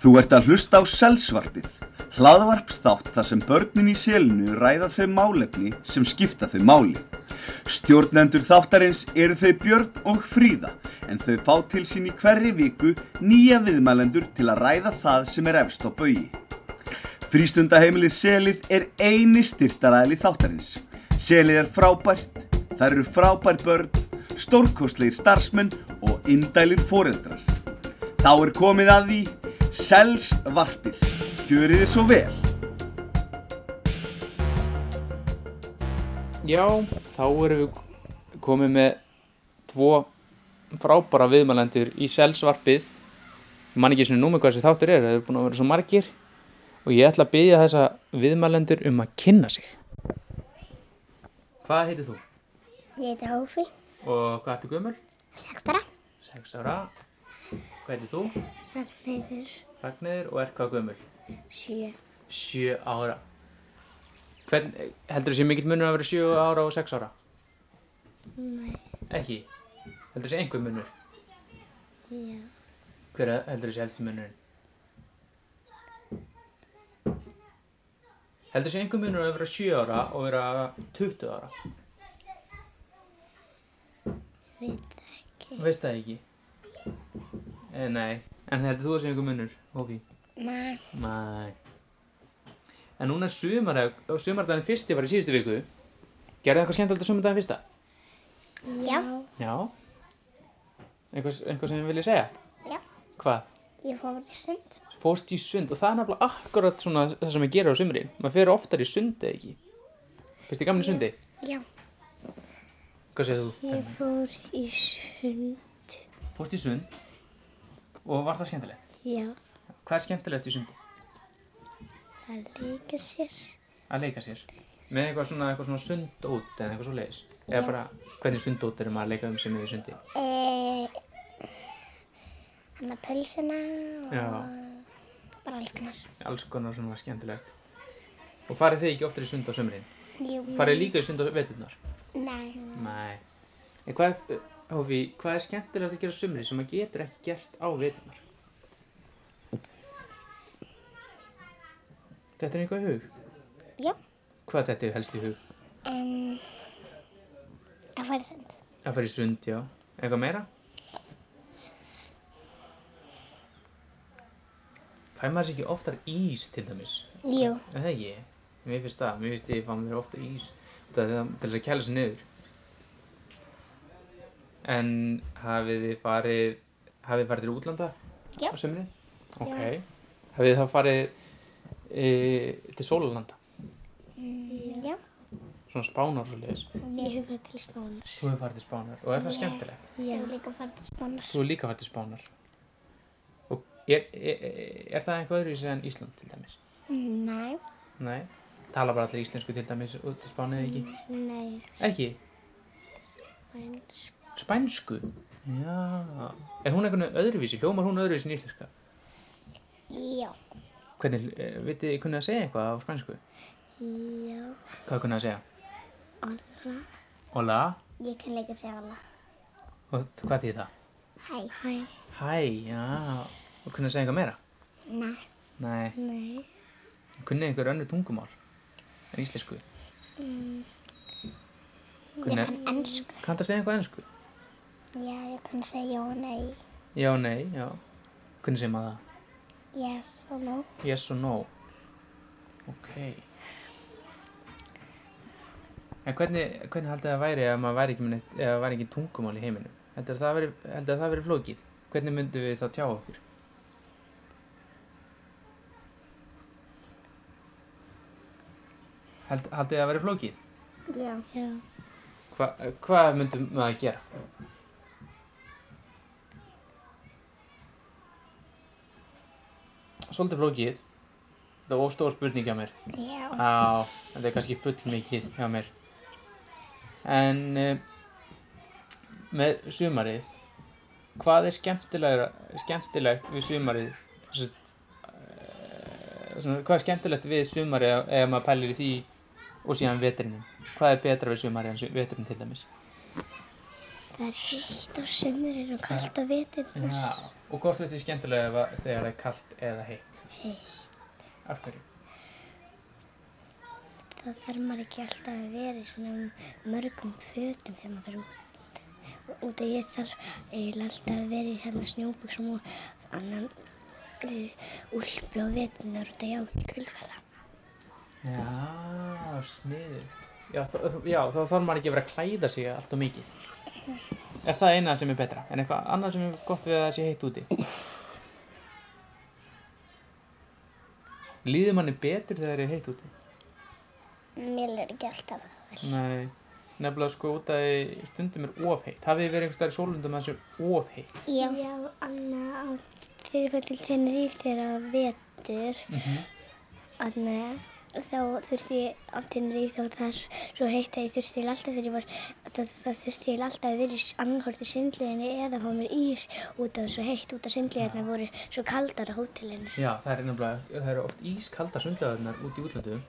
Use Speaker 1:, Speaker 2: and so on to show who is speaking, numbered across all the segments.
Speaker 1: Þú ert að hlusta á Selsvarpið, hlaðvarpstátt þar sem börnin í selinu ræða þau málefni sem skipta þau máli. Stjórnendur þáttarins eru þau Björn og Fríða, en þau fá til sín í hverri viku nýja viðmælendur til að ræða það sem er efst á bögi. Frístundaheimilið Selið er eini styrtaræðli þáttarins. Selið er frábært, það eru frábær börn, stórkostlegir starfsmenn og indælir foreldrar. Þá er komið að því Selsvarpið. Gjörið þið svo vel.
Speaker 2: Já, þá erum við komið með tvo frábara viðmælendur í selsvarpið. Ég man ekki svona númið hvað þessi þáttur er, það eru búin að vera svo margir. Og ég ætla að byggja þessa viðmælendur um að kynna sig. Hvað heitir þú?
Speaker 3: Ég heiti Hófi,
Speaker 2: Og hvað ertu gömul?
Speaker 3: 6 ára.
Speaker 2: 6 ára. Hvað heitir þú?
Speaker 3: Ragnheiður,
Speaker 2: Ragnir og ert hvað gömul?
Speaker 3: 7.
Speaker 2: 7 ára. Hvern, heldur þú sé mikill munur að vera 7 ára og 6 ára?
Speaker 3: Nei,
Speaker 2: Ekki. Heldur þú sé einhver munur?
Speaker 3: já.
Speaker 2: Hver er- heldur þessi helsti munurinn? Heldur þessi einhver munur að vera 7 ára og vera 20 ára?
Speaker 3: Veit ekki.
Speaker 2: Þú veist það ekki? E, nei, en heldur þú þessi einhver munur? Hófi?
Speaker 3: Nei,
Speaker 2: Nei. En núna sumar, sumardaginn fyrsti var í síðustu viku. Gerðu eitthvað skemmtilegt á sumardaginn fyrsta?
Speaker 3: já.
Speaker 2: Já. Eitthvað, eitthvað sem ég vilja segja?
Speaker 3: Já.
Speaker 2: Hvað?
Speaker 3: Ég fór í sund.
Speaker 2: fórst í sund og það er nefnilega akkurat svona það sem ég gera á sumrin maður fer oftar í sundi eða ekki finnst þið gaman í sundi?
Speaker 3: Já.
Speaker 2: Hvað segir þú?
Speaker 3: Ég fór í sund.
Speaker 2: Fórst í sund og var það skemmtilegt?
Speaker 3: Já.
Speaker 2: Hvað er skemmtilegt í sundi?
Speaker 3: Það leika sér.
Speaker 2: Að leika sér með eitthvað svona, eitthvað svona sundót eða eitthvað svo leiðis eða bara hvernig sundót er maður að leika um sem er í sundi
Speaker 3: E, hann að pölsuna og
Speaker 2: Já,
Speaker 3: bara alls konar.
Speaker 2: alls konar svona skemmtilegt og farið þið ekki oftar í sund á sumrin?
Speaker 3: Jú.
Speaker 2: Farið þið líka í sund á veturnar?
Speaker 3: Nei.
Speaker 2: Nei En hvað, eh, Hófi, hvað er skemmtilegt að gera á sumrin sem maður getur ekki gert á veturnar? Þetta er einhvað í hug?
Speaker 3: Já.
Speaker 2: Hvað þetta er helst í hug?
Speaker 3: Um, að fara í sund.
Speaker 2: Að fara í sund, já Eitthvað meira? Fæ maður sér ekki oftar ís til dæmis?
Speaker 3: Jú.
Speaker 2: Er það ekki? Mér finnst það, mér finnst ég fá mér ofta ís Það er til þess að kæla sér niður En hafið þið farið hafið þið farið til útlanda?
Speaker 3: Já.
Speaker 2: Á sömurinn? Ok Hafið þið þá farið e, til Sólalanda?
Speaker 3: Já.
Speaker 2: Svona spánar og leiðis
Speaker 3: Ég hef farið til spánar.
Speaker 2: Þú hefur farið til spánar og er það skemmtilegt?
Speaker 3: Já. Ég hef líka farið til spánar.
Speaker 2: Þú hefur líka farið til spánar Og er, er, er það eitthvað öðruvísi en Ísland til dæmis?
Speaker 3: Nei.
Speaker 2: Nei Tala bara allir íslensku til dæmis út til spánið ekki?
Speaker 3: Mm. Nei.
Speaker 2: Ekki?
Speaker 3: Spænsk.
Speaker 2: Spænsku? Já. Er hún einhvern veginn öðruvísi? Hljómar hún öðruvísi en íslenska?
Speaker 3: Já.
Speaker 2: Hvernig, eh, vitið þið kunnið að segja eitthvað á spænsku?
Speaker 3: Já.
Speaker 2: Hvað kunnið að segja?
Speaker 3: Orða.
Speaker 2: Hola.
Speaker 3: Ég kann líka segja orða.
Speaker 2: Og þ- hvað þýðir það?
Speaker 3: Hæ. Hæ.
Speaker 2: Hæ, já. Og kunnið að segja eitthvað meira?
Speaker 3: Nei.
Speaker 2: Nei.
Speaker 3: Nei.
Speaker 2: Kunnið einhver önnur tungumál en íslensku?
Speaker 3: Mm. Ég
Speaker 2: Kunnið,
Speaker 3: kann ennsku.
Speaker 2: kanntu að segja eitthvað ennsku?
Speaker 3: Já, ég kann segja já og nei.
Speaker 2: Já, nei, já. Kunnið segja maður það?
Speaker 3: Yes og no.
Speaker 2: Yes og no. Ok. En hvernig, hvernig haldið það væri ef maður væri ekki, með neitt- ef það væri ekki tungumál í heiminum? Heldur það veri, heldur það veri flókið? Hvernig myndum við þá tjá okkur? Held, haldið það veri flókið?
Speaker 3: Já. Já.
Speaker 2: Hva, hvað myndum maður að gera? Svolítið flókið. Það var ofstór spurning hjá mér.
Speaker 3: Já.
Speaker 2: Já, þetta er kannski full mikið hjá mér. En uh, með sumarið, hvað er skemmtilegra, skemmtilegt við sumarið? Sett, uh, svona, hvað er skemmtilegt við sumarið ef- ef maður pælir í því og síðan veturinnum? Hvað er betra við sumarið en su- veturinn til dæmis?
Speaker 3: Það er heitt á sumurin og kallt á vetirnar.
Speaker 2: Já, Og hvort finnst þið skemmtilega ef- þegar það er kalt eða heitt?
Speaker 3: heitt.
Speaker 2: Af hverju?
Speaker 3: Það þarf maður ekki alltaf að vera í svona mörgum fötum þegar maður fer út. Út að ég þarf eiginlega alltaf að vera í hérna snjóbuksum og annan uh, úlpi á vetunar út að ég á ekki kuldkala.
Speaker 2: Já, sniðugt. Já, þ- þ- já, þá þarf maður ekki að vera að klæða sig allt og mikið. Er það eina sem er betra? En eitthvað annað sem er gott við að það sé heitt úti? Líður manni betur þegar það er heitt úti?
Speaker 3: Mér er ekki alltaf það vel.
Speaker 2: Nei, nefnilega sko út að stundum er of heitt. Hafið þið verið einhvers staðar í sólundum að þessu of heitt?
Speaker 3: Já, Já Anna, á- þegar ég fyrir til Tenerife þegar að vetur,
Speaker 2: Mhm.
Speaker 3: Anna, þá þurfti ég á Tenerife þá var það s- svo heitt að ég þurfti eiginlega alltaf þegar ég var, það, það þurfti eiginlega alltaf að vera í annarkorti sundleginni eða fá mér ís út af svo heitt út af sundleginna voru svo kaldar á hótelinu.
Speaker 2: Já, það er nefnilega, það eru oft ískalda sundlegaðunar út í útlöndum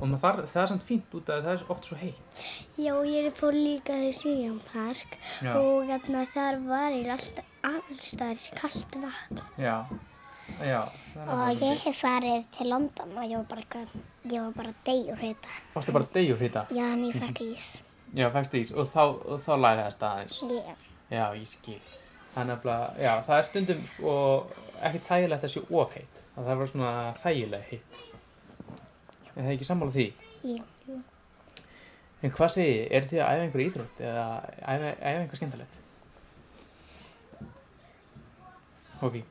Speaker 2: og maður þar, það er samt fínt út að það er oft svo heitt.
Speaker 3: Já, og ég fór líka í Svíjón Park
Speaker 2: Já.
Speaker 3: og þarna þar var eiginlega alltaf alls þar kallt vatn.
Speaker 2: Já, já. það er nefnilega
Speaker 4: Og ég
Speaker 2: svolítið.
Speaker 4: hef farið til London og ég var bara, eitthvað- ég var bara degjur heita.
Speaker 2: Varstu bara degjur hýta?
Speaker 4: Já, en ég fekk ís.
Speaker 2: Já, fækst ís og þá, og þá lagaðist aðeins.
Speaker 4: Ég,
Speaker 2: Já, ég skil. Það er nefnilega, já, það er stundum og ekki þægilegt að sé of heitt. Það þarf að vera svona þægilega heitt. Er það ekki sammála því?
Speaker 4: ég,
Speaker 2: En hvað segið, þið? er þið að æfa einhver íþrótt eða æfa, æfa einhver skemmtilegt? Hófi,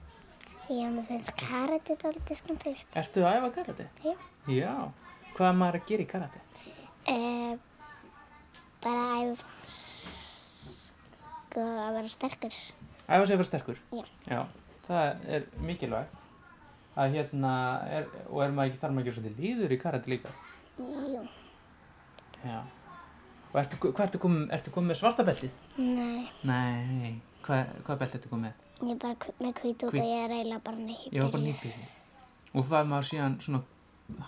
Speaker 4: ég, mér finnst karate dálítið skemmtilegt.
Speaker 2: ertu að æfa karate?
Speaker 4: Já.
Speaker 2: Já, hvað er maður að gera í karate?
Speaker 4: Uh, bara að æfa sko að vera sterkur.
Speaker 2: Æfa sig að vera sterkur?
Speaker 4: Já.
Speaker 2: það er mikilvægt að hérna, er, og er maður ekki, þarf maður ekki svolítið líður í karate líka?
Speaker 4: Jú,
Speaker 2: Já. Og ertu, hvað ertu komið, ertu komið með svarta beltið?
Speaker 4: nei,
Speaker 2: Nei, hvað, hvað beltið ertu komið með?
Speaker 4: ég er bara hv- með hvít út
Speaker 2: Hvít.
Speaker 4: og ég er eiginlega bara nýbyrjuð.
Speaker 2: Ég var bara nýpið. Og hvað er maður síðan svona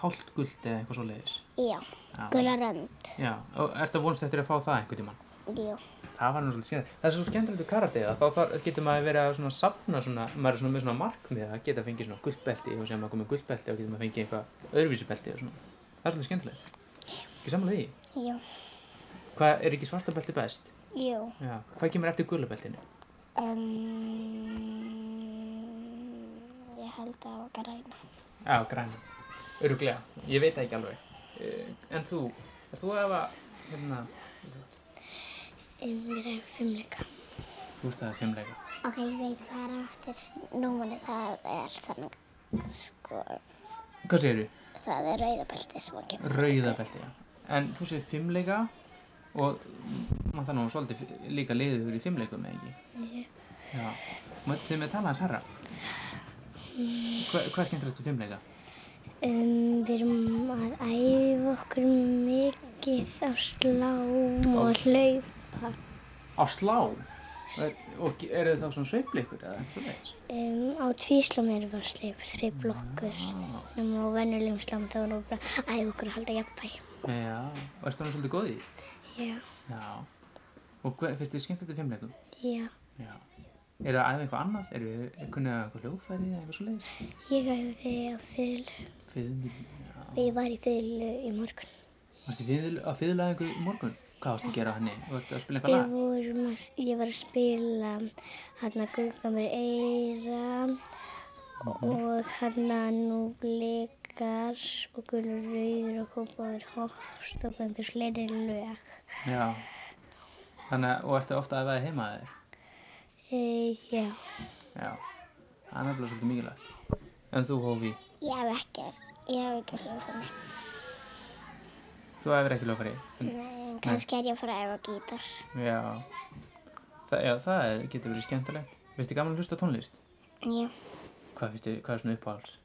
Speaker 2: hálft guld eða eitthvað svo leiðis?
Speaker 4: Já,
Speaker 2: Já.
Speaker 4: gula rönd,
Speaker 2: Já, og ertu að vonast eftir að fá það einhvern tímann?
Speaker 4: jú.
Speaker 2: Það var nú svolítið skemmtilegt. Það er svo skemmtilegt við karatið að þá þar getur maður verið að svona safna svona, maður er svona með svona markmið að geta að fengið svona gullbelti og sem maður komið gullbelti og getur maður að fengið eitthvað öðruvísi belti og svona. Það er svolítið skemmtilegt. Ekki sammála því?
Speaker 4: Jú,
Speaker 2: Hvað er ekki svarta belti best?
Speaker 4: jú.
Speaker 2: Já. Hvað kemur eftir gula beltinu?
Speaker 4: Um, ég held að það var græna.
Speaker 2: Já, græn. Öruglega. Ég veit það ekki alveg. Eh, En þú, er þú ef að, hérna,
Speaker 3: Um, mér er fimmleika.
Speaker 2: þú ert að fimmleika.
Speaker 4: Ok, ég veit hvað er aftur númanni, það er þannig, sko,
Speaker 2: Hvað segir þú?
Speaker 4: það er rauðabelti sem að kemur.
Speaker 2: Rauða belti, já. En þú segir fimmleika og maður það nú svolítið fi- líka liður í fimmleikum, eða ekki? Já. Mættu þið með að tala hans herra? Hva, hvað er skemmtilegt við fimmleika?
Speaker 3: Um, við erum að æfa okkur mikið á slám og hlaupa.
Speaker 2: Á slá? Er, og eru þið þá svona sveifleikur eða eins og leiðis?
Speaker 3: Um, á tvíslám erum við að sleipa þri blokkur. Nefnum á vennulegum slám þá erum við bara að æfa okkur að halda jafnvægi.
Speaker 2: Já, og ertu hann svolítið góð í? því?
Speaker 3: Já,
Speaker 2: Já. Og hvað, finnst þið skemmtilegt við fimmleikum?
Speaker 3: já.
Speaker 2: Já. Er það aðeins eitthvað annað? Er þið kunnið að eitthvað hljóðfæri eða eitthvað svo leiðis?
Speaker 3: Ég æfi á fiðlu.
Speaker 2: Fiðl, já.
Speaker 3: Ég var í fiðlu í morgun.
Speaker 2: Varstu fiðl, að fiðla einhver í morgun? Hvað varstu að gera á henni? Varstu að spila
Speaker 3: Við
Speaker 2: eitthvað lag?
Speaker 3: vorum að, ég var að spila hérna Gugga mér eira og hérna nú blikar og gulur rauður og kópaður hoppst og einhver fleiri lög.
Speaker 2: Já. Þannig, að- og ertu ofta að veða heima þér?
Speaker 3: E, já,
Speaker 2: Já. Það er nefnilega svolítið mikilvægt. En þú, Hófi,
Speaker 4: Ég hef ekki, ég hef ekki hljóðfunni.
Speaker 2: þú hefur ekki lögfæri?
Speaker 4: Nei, kannski er ég að fara að æfa gítar.
Speaker 2: Já. Þa, já, það er, getur verið skemmtilegt. Finnst þið gaman að hlusta á tónlist?
Speaker 4: Já,
Speaker 2: Hvað finnst þið, hvað er svona uppáhalds?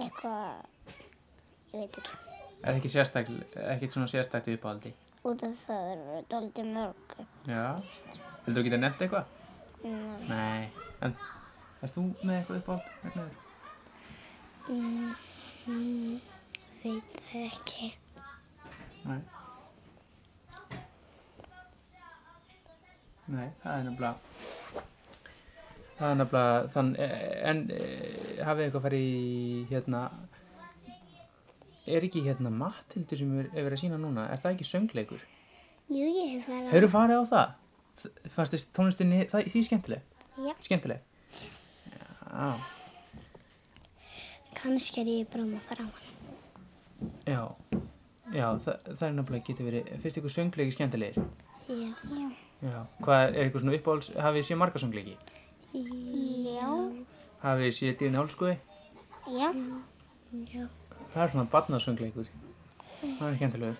Speaker 4: eitthvað, ég veit ekki.
Speaker 2: Er ekki sérstak, ekkert svona sérstakt í uppáhaldi?
Speaker 4: Út af það eru dálítið mörg.
Speaker 2: Já. Vildu þú geta nefnt eitthvað?
Speaker 4: Nei,
Speaker 2: Nei. En, erst þú með eitthvað uppáhald? Ragnheiður?
Speaker 3: Mm, veit það ekki.
Speaker 2: Nei. Nei, það er nefnilega Það er nefnilega þann, eh, en eh, hafið eitthvað farið í hérna, er ekki hérna Mattildur sem er, er verið að sína núna, er það ekki söngleikur?
Speaker 4: Jú, ég hef farið á-
Speaker 2: Hefur farið á það? Þ- Fannst þess tónlistinni, það, því skemmtileg?
Speaker 4: Já.
Speaker 2: Skemmtileg? Já,
Speaker 3: Kannski er ég bara um að fara á hann.
Speaker 2: já, já, það, það er nefnilega getur verið, finnst ykkur söngleiki skemmtilegir?
Speaker 3: Já.
Speaker 4: Já.
Speaker 2: Já, hvað er, er ykkur svona uppáhalds, hafið þið séð marga söngleiki?
Speaker 4: Já.
Speaker 2: Hafið þið séð dýrin hálskói?
Speaker 4: Já.
Speaker 3: Já.
Speaker 2: Það er svona barnasöngleikur, það er skemmtilegur.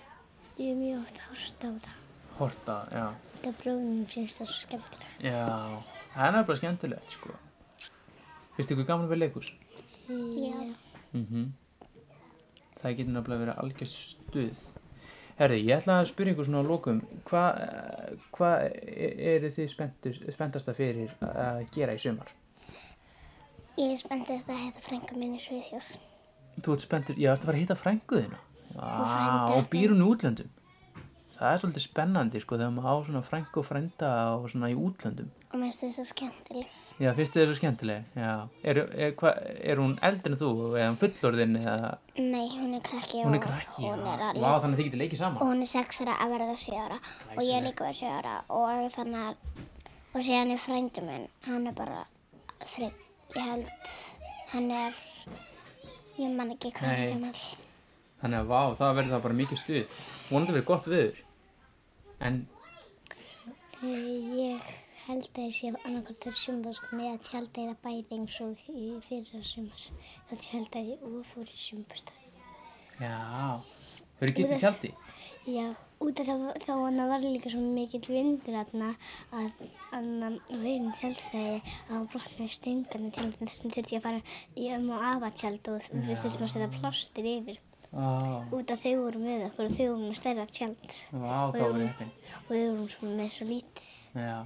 Speaker 3: Ég er mjög oft að horsta á það.
Speaker 2: Horta, já.
Speaker 3: Það bróðum finnst það svo skemmtilega.
Speaker 2: Já, það er nefnilega skemmtilegt sko. Finnst ykkur gaman við leikús?
Speaker 4: Já.
Speaker 2: Mm Það getur nefnilega verið algjör stuð. Herði, ég ætla að spyrja ykkur svona á lókum. Hvað hva eru þið spenntus, spenntasta fyrir að gera í sumar?
Speaker 4: Ég er spenntist að hætta frænga minni Sviðhjóð.
Speaker 2: Þú ert spenntur, ég ætti að fara að hitta frænguðina.
Speaker 4: frænda.
Speaker 2: Vá, og býr hún í útlöndum. Það er svolítið spennandi sko þegar maður á svona frængu og frænda og svona í útlöndum.
Speaker 4: Og mér finnst það svo skemmtileg.
Speaker 2: Já, fyrst er það skemmtileg, já. Er, er, hva, er hún eldri en þú, eða hún fullorðin, eða
Speaker 4: Nei, hún er krakki
Speaker 2: hún er
Speaker 4: og
Speaker 2: krakki?
Speaker 4: hún er
Speaker 2: já.
Speaker 4: alveg.
Speaker 2: Vá, þannig að þið getur leikið
Speaker 4: Og
Speaker 2: saman.
Speaker 4: hún er 6 ára að verða 7 ára og ég er líka verið 7 ára og þannig að og síðan er frændi minn, hann er bara þripp, ég held hann er, ég man ekki hvað hann
Speaker 2: Nei.
Speaker 4: er gammal
Speaker 2: Þannig að vá, það verður það bara mikið stuð. Vonandi verið gott viður. En,
Speaker 3: Eh, Ég held að ég sé annarkvæmt þegar sumast með að tjálta eða bæði eins og í fyrra sumast. Það tjálta ég og fór í sumast.
Speaker 2: já, þau eru gist í tjaldi.
Speaker 3: Já, út af þá, þá hann var líka svo mikill vindur aðna að hann á haurin tjálstæði að brotnaði stöngarna til þess þessum þurfti ég að fara í um og afa tjald og við þurftum að setja plástir yfir.
Speaker 2: Vá,
Speaker 3: Út af þau voru með okkur og þau voru með stærra tjald
Speaker 2: vá, hvað
Speaker 3: Og-
Speaker 2: verður heppin.
Speaker 3: og þau voru svo með svo lítið.
Speaker 2: Já,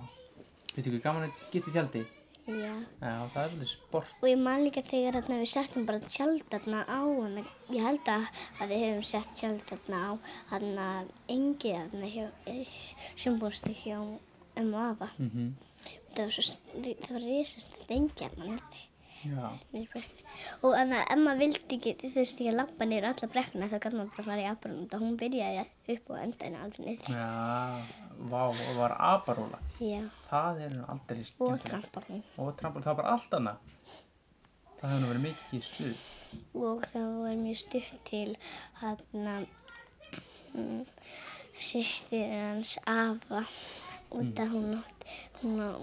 Speaker 2: finnst ykkur gaman að gist í tjaldi?
Speaker 3: Já.
Speaker 2: Já, það er svolítið sport.
Speaker 3: Og ég man líka þegar þarna við settum bara tjald þarna á hana. Ég held að, að við höfum sett tjald þarna á hana engið þarna hjá, eh, sem bústu hjá um og afa.
Speaker 2: Mm
Speaker 3: Það var svo, sn- það var risast þetta engið þarna niðri.
Speaker 2: Já,
Speaker 3: niðri brekkunni. Og þannig að ef maður vildi ekki, þau þurfti ekki að labba niður alla brekkuna þá gæti maður bara að fara í abrunum og hún byrjaði upp og enda henni alveg niður.
Speaker 2: já, vá, og var aparóla.
Speaker 3: Já,
Speaker 2: Það er nú aldrei
Speaker 3: og
Speaker 2: skemmtilegt.
Speaker 3: tramparnum.
Speaker 2: og trampol, það var bara allt annað það hefur nú verið mikið stuð
Speaker 3: og það var mjög stutt til hann að sýstir hans afa út að hún átt hún á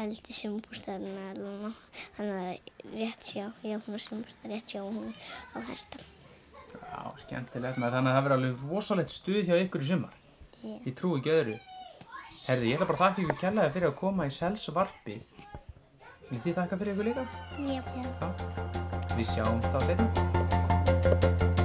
Speaker 3: heldur sumbústæðina alveg hann að rétt sjá já hún á sumbústæðina rétt sjá og hún á hesta
Speaker 2: já, skemmtilegt maður þannig að það verið alveg rosalegt stuð hjá ykkur í sumar
Speaker 3: Já.
Speaker 2: ég trúi ekki öðru herði, ég ætla bara að þakka ykkur kjallaði fyrir að koma í selsvarpið vil þið þakka fyrir ykkur líka?
Speaker 4: Jöp, jöp
Speaker 2: já við sjáumst á þeirra